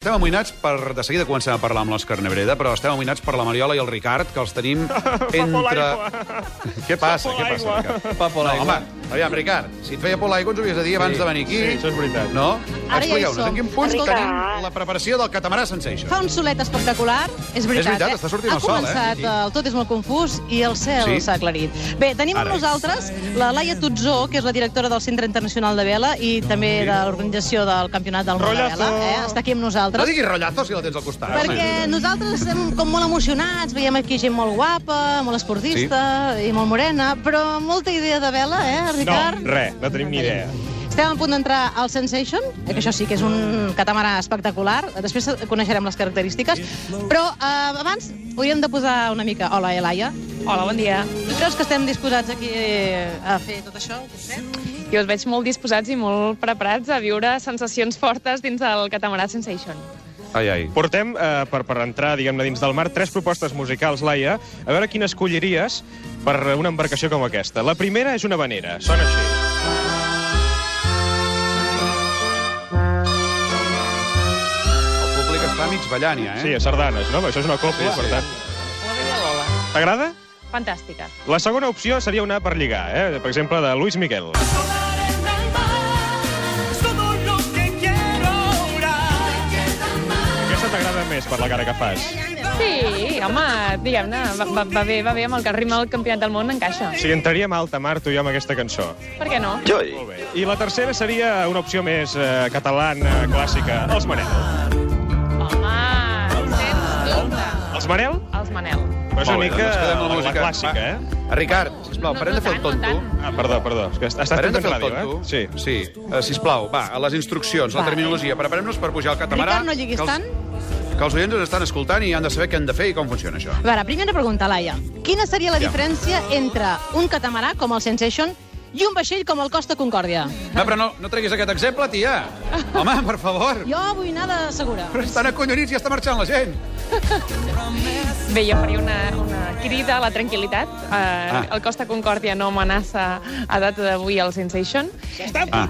Estem amoïnats per... De seguida comencem a parlar amb l'Òscar Nebreda, però estem amoïnats per la Mariola i el Ricard, que els tenim entre... Què passa? por Què passa, l'aigua. Ricard? Fa no, por l'aigua. home, aviam, Ricard, si et feia por l'aigua ens ho havies de dir abans de venir aquí. sí, això és veritat. No? Ara ja hi Expliqueu-nos, som. en quin punt Escolta. tenim la preparació del Catamarà Sensation? Fa un solet espectacular, és veritat. veritat, eh? està sortint ha el sol, eh? començat, Sí. el tot és molt confús i el cel Sí. s'ha aclarit. Bé, tenim Ara. amb nosaltres la Laia Tutzó, que és la directora del Centre Internacional de Vela i també de l'organització del Campionat del Món de Rollazo. Vela. Eh? Està aquí amb No nosaltres. diguis rotllazo si la tens al Ah, costat. Perquè home. nosaltres estem com molt emocionats, veiem aquí gent molt guapa, molt esportista i molt morena, però amb molta idea de vela, eh, No, Ricard? res, no tenim ni idea. Estem a punt d'entrar al Sensation, eh, que això sí que és un catamarà espectacular. Després coneixerem les característiques. Però eh, abans hauríem de posar una mica... Hola, Elaia. Hola, bon dia. Tu creus que estem disposats aquí eh, a fer tot això? que fem? Jo us veig molt disposats i molt preparats a viure sensacions fortes dins del Catamarà Sensation. Ai, ai. Portem, eh, per, per entrar, diguem-ne, dins del mar, tres propostes musicals, Laia. A veure quina escolliries per una embarcació com aquesta. La primera és una vanera. Sona així. El públic està mig ballant ja, eh? Sí, a sardanes, no? Això és una còpia, per tant. T'agrada? Fantàstica. La segona opció seria una per lligar, eh? Per exemple, de Luis Miguel. Aquesta t'agrada més per la cara que fas. Sí, home, diguem-ne, va, va, va, bé, va bé amb el que rima el Campionat del Món, encaixa. Si entraríem a alta mar, tu i jo, amb aquesta cançó. Per què no? Molt bé. I la tercera seria una opció més eh, catalana, clàssica. Els Manel. Home, sens dubte. Els Manel? Els Manel. Però és una Molt bé, mica doncs quedem amb la, música. clàssica, eh? Va. Ricard, sisplau, parem de fer el tant, no tonto. tant. Ah, perdó, perdó. És que estàs Parem fent de fer el ràdio, tonto. eh? Sí. Sí. Uh, sisplau, va, a les instruccions, la Va. terminologia. Preparem-nos per pujar al catamarà. Ricard, no lliguis que els, tant. Que els oients ens estan escoltant i han de saber què han de fer i com funciona això. A veure, primera pregunta, Laia. Quina seria la Ja. diferència entre un catamarà, com el Sensation, i un vaixell com el Costa Concòrdia? No, però no, no treguis aquest exemple, tia. Home, per favor. Jo vull anar de segura. Però estan acollonits i està marxant la gent. Bé, jo faria una, una crida a la tranquil·litat. Eh, ah. El Costa Concòrdia no amenaça a data d'avui el Sensation. Ah.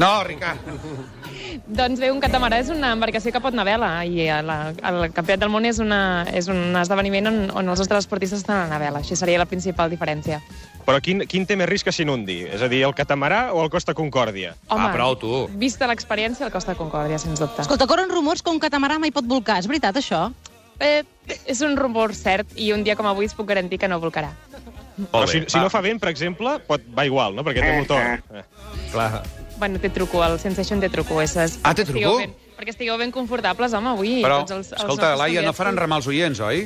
No, Ricard. Doncs bé, un catamarà és una embarcació que pot anar a vela i a la, el Campionat del Món és, una, és un esdeveniment on, on els nostres esportistes estan anant a vela. Això seria la principal diferència. Però quin, quin té més risc que s'inundi? És a dir, el catamarà o el Costa Concòrdia? Ah, prou, tu. Vista l'experiència, el Costa Concòrdia, sens dubte. Escolta, corren rumors que un catamarà mai pot volcar. És veritat, això? Eh, és un rumor cert i un dia com avui es puc garantir que no volcarà. Però si, si no fa vent, per exemple, pot, va igual, no? Perquè té motor. Eh. Clar. Bueno, té truco, el Sensation té truco. És, és, Ah, té perquè truco? estigueu Ben, perquè estigueu ben confortables, home, avui. Però, doncs tots els, els escolta, nostres Laia, no convidats- faran remar els oients, oi?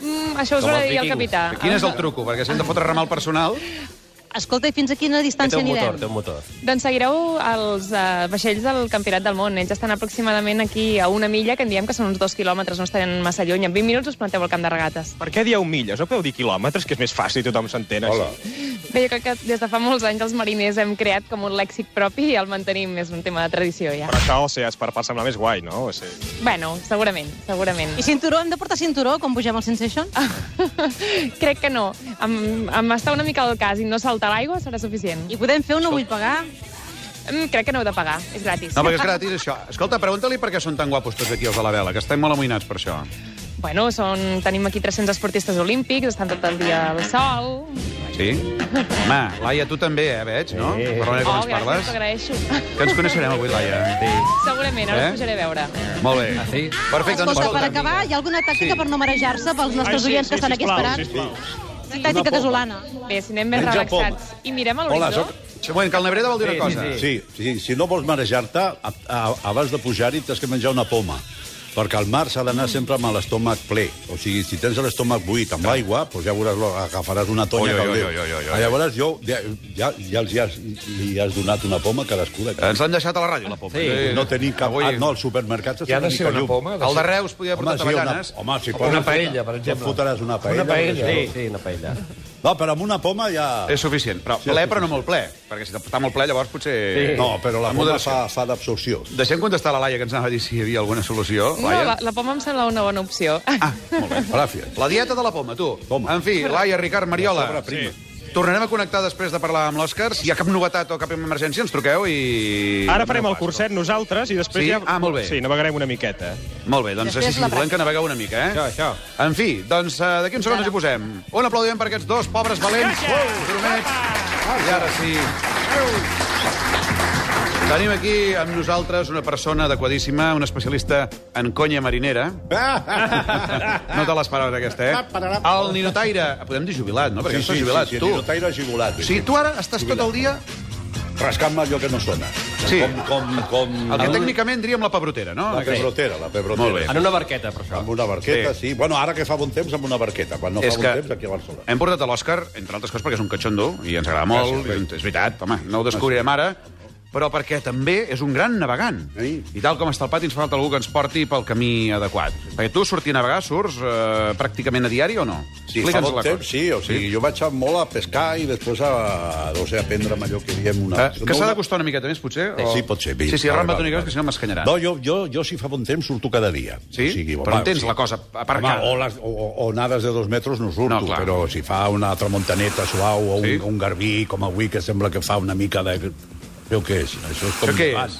Mm, això us ho ha de dir el capità. Ah, Quin és el truco? Perquè si hem de fotre remar al personal... Escolta, i fins a quina distància anirem? un motor. Doncs seguireu els uh, vaixells del Campionat del Món. Ells estan aproximadament aquí a una milla, que en diem que són uns dos quilòmetres, no estan massa lluny. En 20 minuts us planteu al camp de regates. Per què dieu milles? No podeu dir quilòmetres, que és més fàcil i tothom s'entén. així. Bé, jo crec que des de fa molts anys els mariners hem creat com un lèxic propi i el mantenim, és un tema de tradició ja. Però això, o sigui, es per, per semblar més guai, no? O sigui, Bueno, segurament, segurament. I cinturó? Hem de portar cinturó quan pugem al Sensation? crec que no. Amb, amb estar una mica al cas i no saltar a l'aigua serà suficient. I podem fer un no vull pagar? Mm, crec que no heu de pagar, és gratis. No, perquè és gratis, això. Escolta, pregunta-li per què són tan guapos tots aquí els de la vela, que estem molt amoïnats per això. Bueno, són, tenim aquí 300 esportistes olímpics, estan tot el dia al sol, Sí? Home, Laia, tu també, eh, veig, no? Sí. Per la manera com ens Oh, gràcies, parles. t'agraeixo. Que ens coneixerem avui, Laia. Sí. Segurament, ara Eh? eh? us pujaré a veure. Molt bé. Ah, sí? Perfecte, doncs Escolta, per escolta. acabar, hi ha alguna tàctica Sí. per no marejar-se pels nostres Ai, oients que estan aquí sisplau, esperant? sisplau. Tàctica casolana. Bé, si anem més Menja relaxats i mirem a Hola, l'horitzó, soc... Següent, que el Nebreda vol dir una cosa. sí, Sí, sí, si no vols marejar-te, a- a- abans de pujar-hi t'has que menjar una poma perquè al mar s'ha d'anar sempre amb l'estómac ple. O sigui, si tens l'estómac buit amb aigua, doncs ja veuràs, lo- agafaràs una Oi, tonya que oi, el oi, Déu. oi, oi, oi, oi. Llavors jo ja, ja, ja els hi has, li has donat una poma a cadascú. De... Ens l'han deixat a la ràdio, la popa. Sí. No tenim cap... Avui- Ah, no, als supermercats... Hi ha de una ser mica una llum. poma, El de Reus podia Home, portar sí, una, avellanes. home, si Una poses- paella, per exemple. Et fotràs una paella. Una paella, perquè- Sí, sí, una paella. No, però amb una poma ja... És suficient, però ple, però no molt ple, perquè si està molt ple, llavors potser... No, però la Amb poma moderació. fa, fa d'absorció. Deixem contestar la Laia, que ens anava a dir si hi havia alguna solució. no, Laia? la, la poma em sembla una bona opció. Ah, molt bé. Gràcies. La dieta de la poma, tu. Poma. En fi, Laia, Ricard, Mariola. Sobre prima. Sí. Tornarem a connectar després de parlar amb l'Òscar. Si hi ha cap novetat o cap emergència, ens truqueu i... Ara farem el curset nosaltres i després Sí? ja... Ah, molt bé. Sí, navegarem una miqueta. Molt bé, doncs Després així sí, la volem que navegueu una mica, eh? Això, això. En fi, doncs eh, d'aquí uns segons ens hi posem. Un aplaudiment per aquests dos pobres valents. Gromets. I ara sí. Tenim aquí amb nosaltres una persona adequadíssima, un especialista en conya marinera. No te l'esperaves, aquesta, eh? El ninotaire. Podem dir jubilat, no? Perquè sí, Sí, sí, estàs sí, jubilat, sí, tu. ninotaire jubilat. Sí, tu ara estàs tot el dia... Rascant-me allò que no sona. Sí. Com, com, com... El que tècnicament diríem la pebrotera, no? La pebrotera, la pebrotera. Molt bé. En una barqueta, per això. Amb una barqueta, sí. sí. Bueno, ara que fa bon temps, amb una barqueta. Quan no és fa que bon temps, aquí a Barcelona. hem portat a l'Òscar, entre altres coses, perquè és un catxondo i ens agrada molt. Gràcies, i és veritat, home, no ho descobrirem ara. Però perquè també és un gran navegant. Sí. I tal com està el pati, ens fa falta algú que ens porti pel camí adequat. Perquè tu, sortir a navegar, surts eh, pràcticament a diari o no? Sí, fa Explica'ns bon la temps, cosa. sí. O sigui, sí. jo vaig a molt a pescar i després a, no sé, a prendre amb allò que diem una... Eh, que s'ha d'acostar una miqueta més, potser? O... Eh, Sí, pot ser. Sí, sí, Vale, arramba't una vale, mica més, vale. que si no m'escanyarà. No, jo, jo, jo si fa bon temps surto cada dia. Sí? Però entens la cosa aparcada. Home, o, les, o, o onades de dos metres no surto, No, clar. però si fa una tramuntaneta suau o un, Sí? sí? un garbí, com avui, que sembla que fa una mica de... Jo què és? Això és com Això què van. és?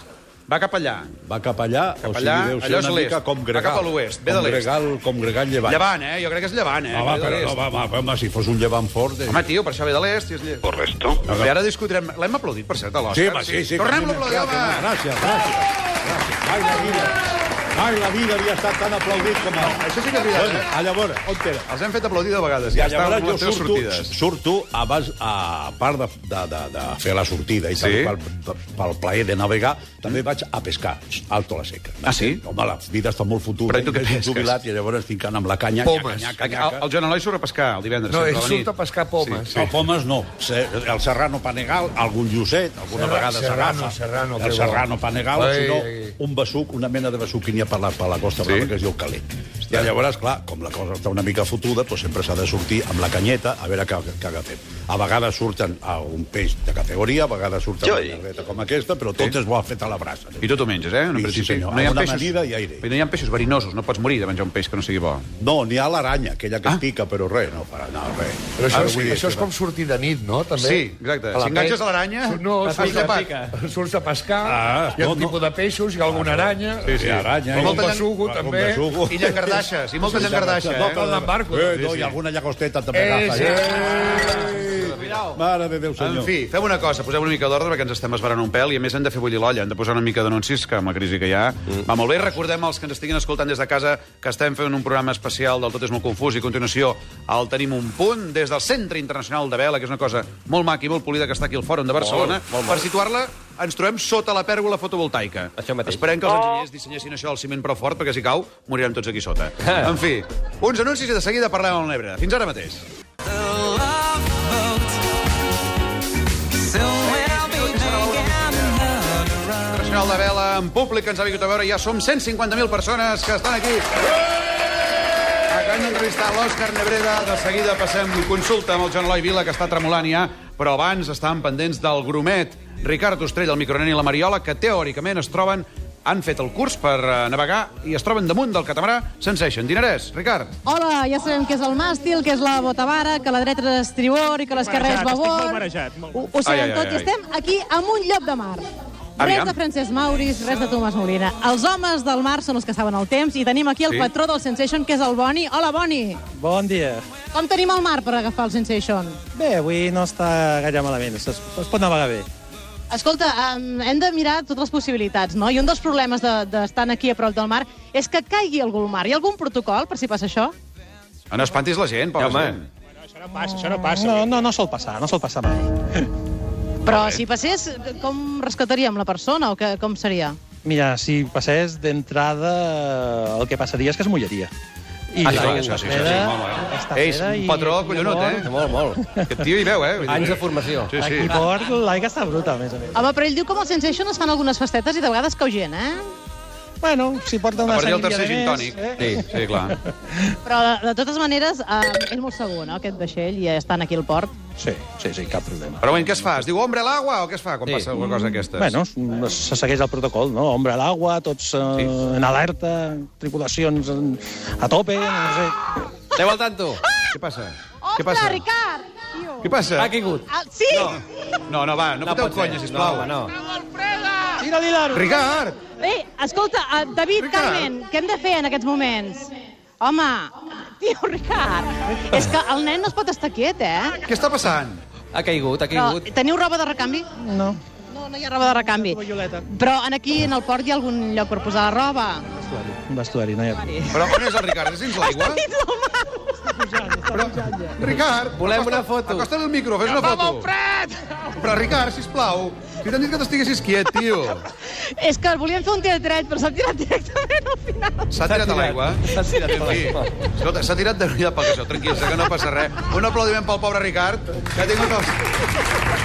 Va cap allà. Va cap allà, Cap o allà, sigui, deu ser allò és una mica l'est. com Va gregal. cap a l'oest, ve de Com l'est. Gregal, com gregal llevant. Llevant, eh? Jo crec que és llevant, eh? Ah, Ve va, de però no, l'est. va, va, home, si fos un llevant fort... Eh? Home, tio, per això ve de l'est. I és... lle- Correcto. I ara discutirem... L'hem aplaudit, per cert, a l'Òscar. Sí, home, sí, sí. Tornem-lo a que aplaudir, m'he home! quedat, Gràcies, gràcies. gràcies. Mai la vida, mai la vida havia estat tan aplaudit com ara. Això sí que és veritat, Bueno, eh? a llavors, on t'era? Els hem fet aplaudir de vegades. I Ja, ja llavors estan jo les teves surto, sortides. surto abans, a part de, de, de, de fer la sortida i Sí? Mm. sí? pel, pel, pel plaer de navegar, també vaig a pescar, alto a la seca. Ah, sí? Home, la vida està molt futura. Però i tu què jo soc pesques? Jubilat, I llavors estic anant amb la canya, Pomes. nyaca, nyaca, El, nyaca. el Joan Eloi surt a pescar el divendres. No, sempre ell la nit. surt a pescar pomes. No, pomes no. Se- El Serrano Panegal, algun llucet, alguna Serra- vegada Serrano, s'agafa. Serrano, que el bo. Serrano Panegal, Ai, ai, si no, ai. un besuc, una mena de besuc que n'hi ha per la, per la Costa Brava, que es diu Calet. I llavors, clar, com la cosa està una mica fotuda, doncs sempre s'ha de sortir amb la canyeta a veure què, què agafem. A vegades surten a un peix de categoria, a vegades surten Joi. una carreta com aquesta, però tot es vol fet a la brasa. I tu t'ho menges, eh? En Sí, principi. sí, senyor. hi ha Amb una peixos- amanida i aire. No hi ha peixos verinosos, no pots morir de menjar un peix que no sigui bo. No, n'hi ha l'aranya, aquella que Ah. es pica, però res, no, para, no, res. Però això, Ara és, vull dir, això és com sortir de nit, no? També? Sí, exacte. la Si enganxes pe- a l'aranya, No, et surts pica, a, pica. surts a pescar, Ah, hi ha no, un no. tipus de peixos, hi ha Ah, alguna aranya, Sí, sí, aranya. Com i- el besugo, Com també. besugo. I llangardaixes, i molta llangardaixes. no cal Eh? anar amb barco. Eh, no, i alguna llagosteta també Eh, agafa. sí. Eh, Mare de Déu, En senyor. fi, fem una cosa, posem una mica d'ordre perquè ens estem esbarant un pèl i a més hem de fer bullir l'olla, hem de posar una mica d'anuncis que amb la crisi que hi ha Mm. va molt bé. Recordem als que ens estiguin escoltant des de casa que estem fent un programa especial del Tot és molt confús i a continuació el tenim un punt des del Centre Internacional de Vela, que és una cosa molt maca i molt polida que està aquí al Fòrum de Barcelona. molt maca. per situar-la, ens trobem sota la pèrgola fotovoltaica. Això mateix. Esperem que els enginyers dissenyessin això al ciment prou fort perquè si cau morirem tots aquí sota. En fi, uns anuncis i de seguida parlem amb l'Ebre. Fins ara mateix. Internacional de Vela, en públic que ens ha vingut a veure. Ja som 150.000 persones que estan aquí. Acabem d'entrevistar l'Òscar Nebreda. De seguida passem consulta amb el Joan Eloi Vila, que està tremolant ja, però abans estan pendents del grumet Ricard Ostrell, el micronen i la Mariola, que teòricament es troben han fet el curs per eh, navegar i es troben damunt del catamarà Sensation. Dinarès, Ricard. Hola, ja sabem que és el màstil, que és la botavara, que la dreta és estribor i que l'esquerra és Marejat, estic babor. molt marejat, molt. Ho, ho sabem Ai, ai, tot ai, ai. i estem aquí amb un llop de mar. Aviam. Res de Francesc Mauris, res de Tomàs Molina. Els homes del mar són els que saben el temps i tenim aquí el Sí. patró del Sensation, que és el Boni. Hola, Boni. Bon dia. Com tenim el mar per agafar el Sensation? Bé, avui no està gaire malament, es, es pot navegar bé. Escolta, em, hem de mirar totes les possibilitats, no? I un dels problemes de- d'estar de, aquí a prop del mar és que caigui algú al mar. Hi ha algun protocol per si passa això? No espantis la gent, pobra home. gent. Això no passa, això no passa. No, no, no sol passar, no sol passar mai. Però si passés, com rescataríem la persona o que, com seria? Mira, si passés d'entrada, eh, el que passaria és que es mullaria. I Ah, sí, l'aigua això sí, això està sí, freda, molt bé. està Ei, freda un i patró, aquí a collonut, bord- eh? Molt, molt. Aquest tio hi veu, eh? Vull dir- Anys de formació. Sí, sí. Aquí a bord l'aigua està bruta, a més a més. Home, però ell diu com al Sensation es fan algunes festetes i de vegades cau gent, eh? Bueno, si porta A una partir del sanivia tercer de gin més... eh? tònic. eh? Sí, sí, clar. Però de, de totes maneres eh, és molt segur, no?, aquest vaixell, i estan aquí al port. Sí, sí, sí, cap problema. Però bueno, què es fa? Es diu ombre l'agua o què es fa quan Sí. passa alguna cosa d'aquestes? Bueno, es- se segueix el protocol, no? Ombra a l'aigua, tots eh, Sí. en alerta, tripulacions en, a tope, no sé... Aneu al tanto. Què passa? Ostres, Què passa? Ricard! Tio. Què passa? Ha caigut. Ah, sí! No, no, va, no, no pot foteu ser. conya, sisplau. No, home, Tira l'Hilaro. Ricard! Bé, escolta, eh, David, Ricard. Carmen, què hem de fer en aquests moments? Home, tio Ricard, és que el nen no es pot estar quiet, eh? Què està passant? Ha caigut, ha Però, caigut. teniu roba de recanvi? No. No, no hi ha roba de recanvi. Però en aquí, en el port, hi ha algun lloc per posar la roba? Un vestuari, no hi ha... Però on és el Ricard? És dins l'aigua? Dins del mar! Ricard! Volem acosta- una foto. Acosta't al micro, fes una foto. Però, Ricard, sisplau, si t'han dit que t'estiguessis quiet, tio. És que volíem fer un teatret, però s'ha tirat directament al final. S'ha tirat a l'aigua. eh? S'ha tirat a Sí. l'aigua. Escolta, s'ha tirat de vida pel caixó, tranquil, sé que no passa res. Un aplaudiment pel pobre Ricard, que ha tingut els...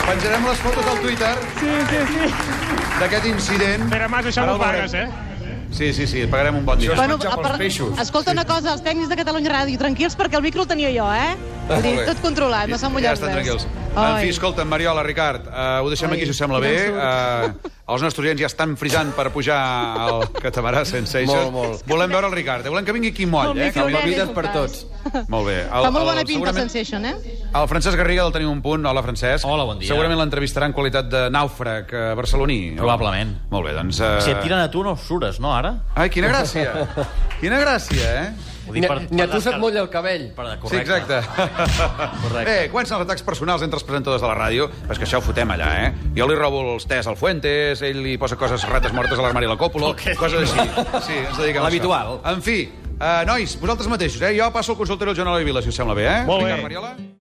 Penjarem les fotos al Twitter sí, sí, sí. d'aquest incident. Pere Mas, això Ara no ho ho veurem. pagues, eh? Sí, sí, sí, et pagarem un bon dia. a part- escolta una cosa, els tècnics de Catalunya Ràdio, tranquils, perquè el micro el tenia jo, eh? Vull dir, Ah, Molt bé. tot controlat, no s'ha mullat Ja estan res. tranquils. En Ai. fi, escolta, Mariola, Ricard, uh, ho deixem Ai, aquí, si us sembla bé. quina Uh, els nostres oients ja estan frisant per pujar al Catamarà Molt, Sensation. molt. Volem veure el Ricard. eh? Volem que vingui aquí moll, El eh? Que micro vingui... Lluites per tots. Molt bé. Fa molt bona pinta, segurament- Sensation, eh? El Francesc Garriga del Tenim un punt. Hola, Francesc. Hola, bon dia. Segurament l'entrevistarà en qualitat de nàufrag eh, barceloní. Probablement. Molt bé, doncs... Uh... Si et tiren a tu no sures, no, ara? Ai, quina gràcia. Quina gràcia, eh? Ho Ni, ni a tu se't descar- mulla el cabell. Per de Sí, correcte. exacte. Correcte. Bé, comencen els atacs personals entre els presentadors de la ràdio. És que això ho fotem allà, eh? Jo li robo els tés al Fuentes, ell li posa coses rates mortes a l'armari de la còpula, okay. coses així. Sí, ens dediquem a L'habitual. això. En fi, uh, nois, vosaltres mateixos, eh? Jo passo al consultori al Joan Eloi Vila, si us sembla bé, eh? Molt bé. Ricard Mariola.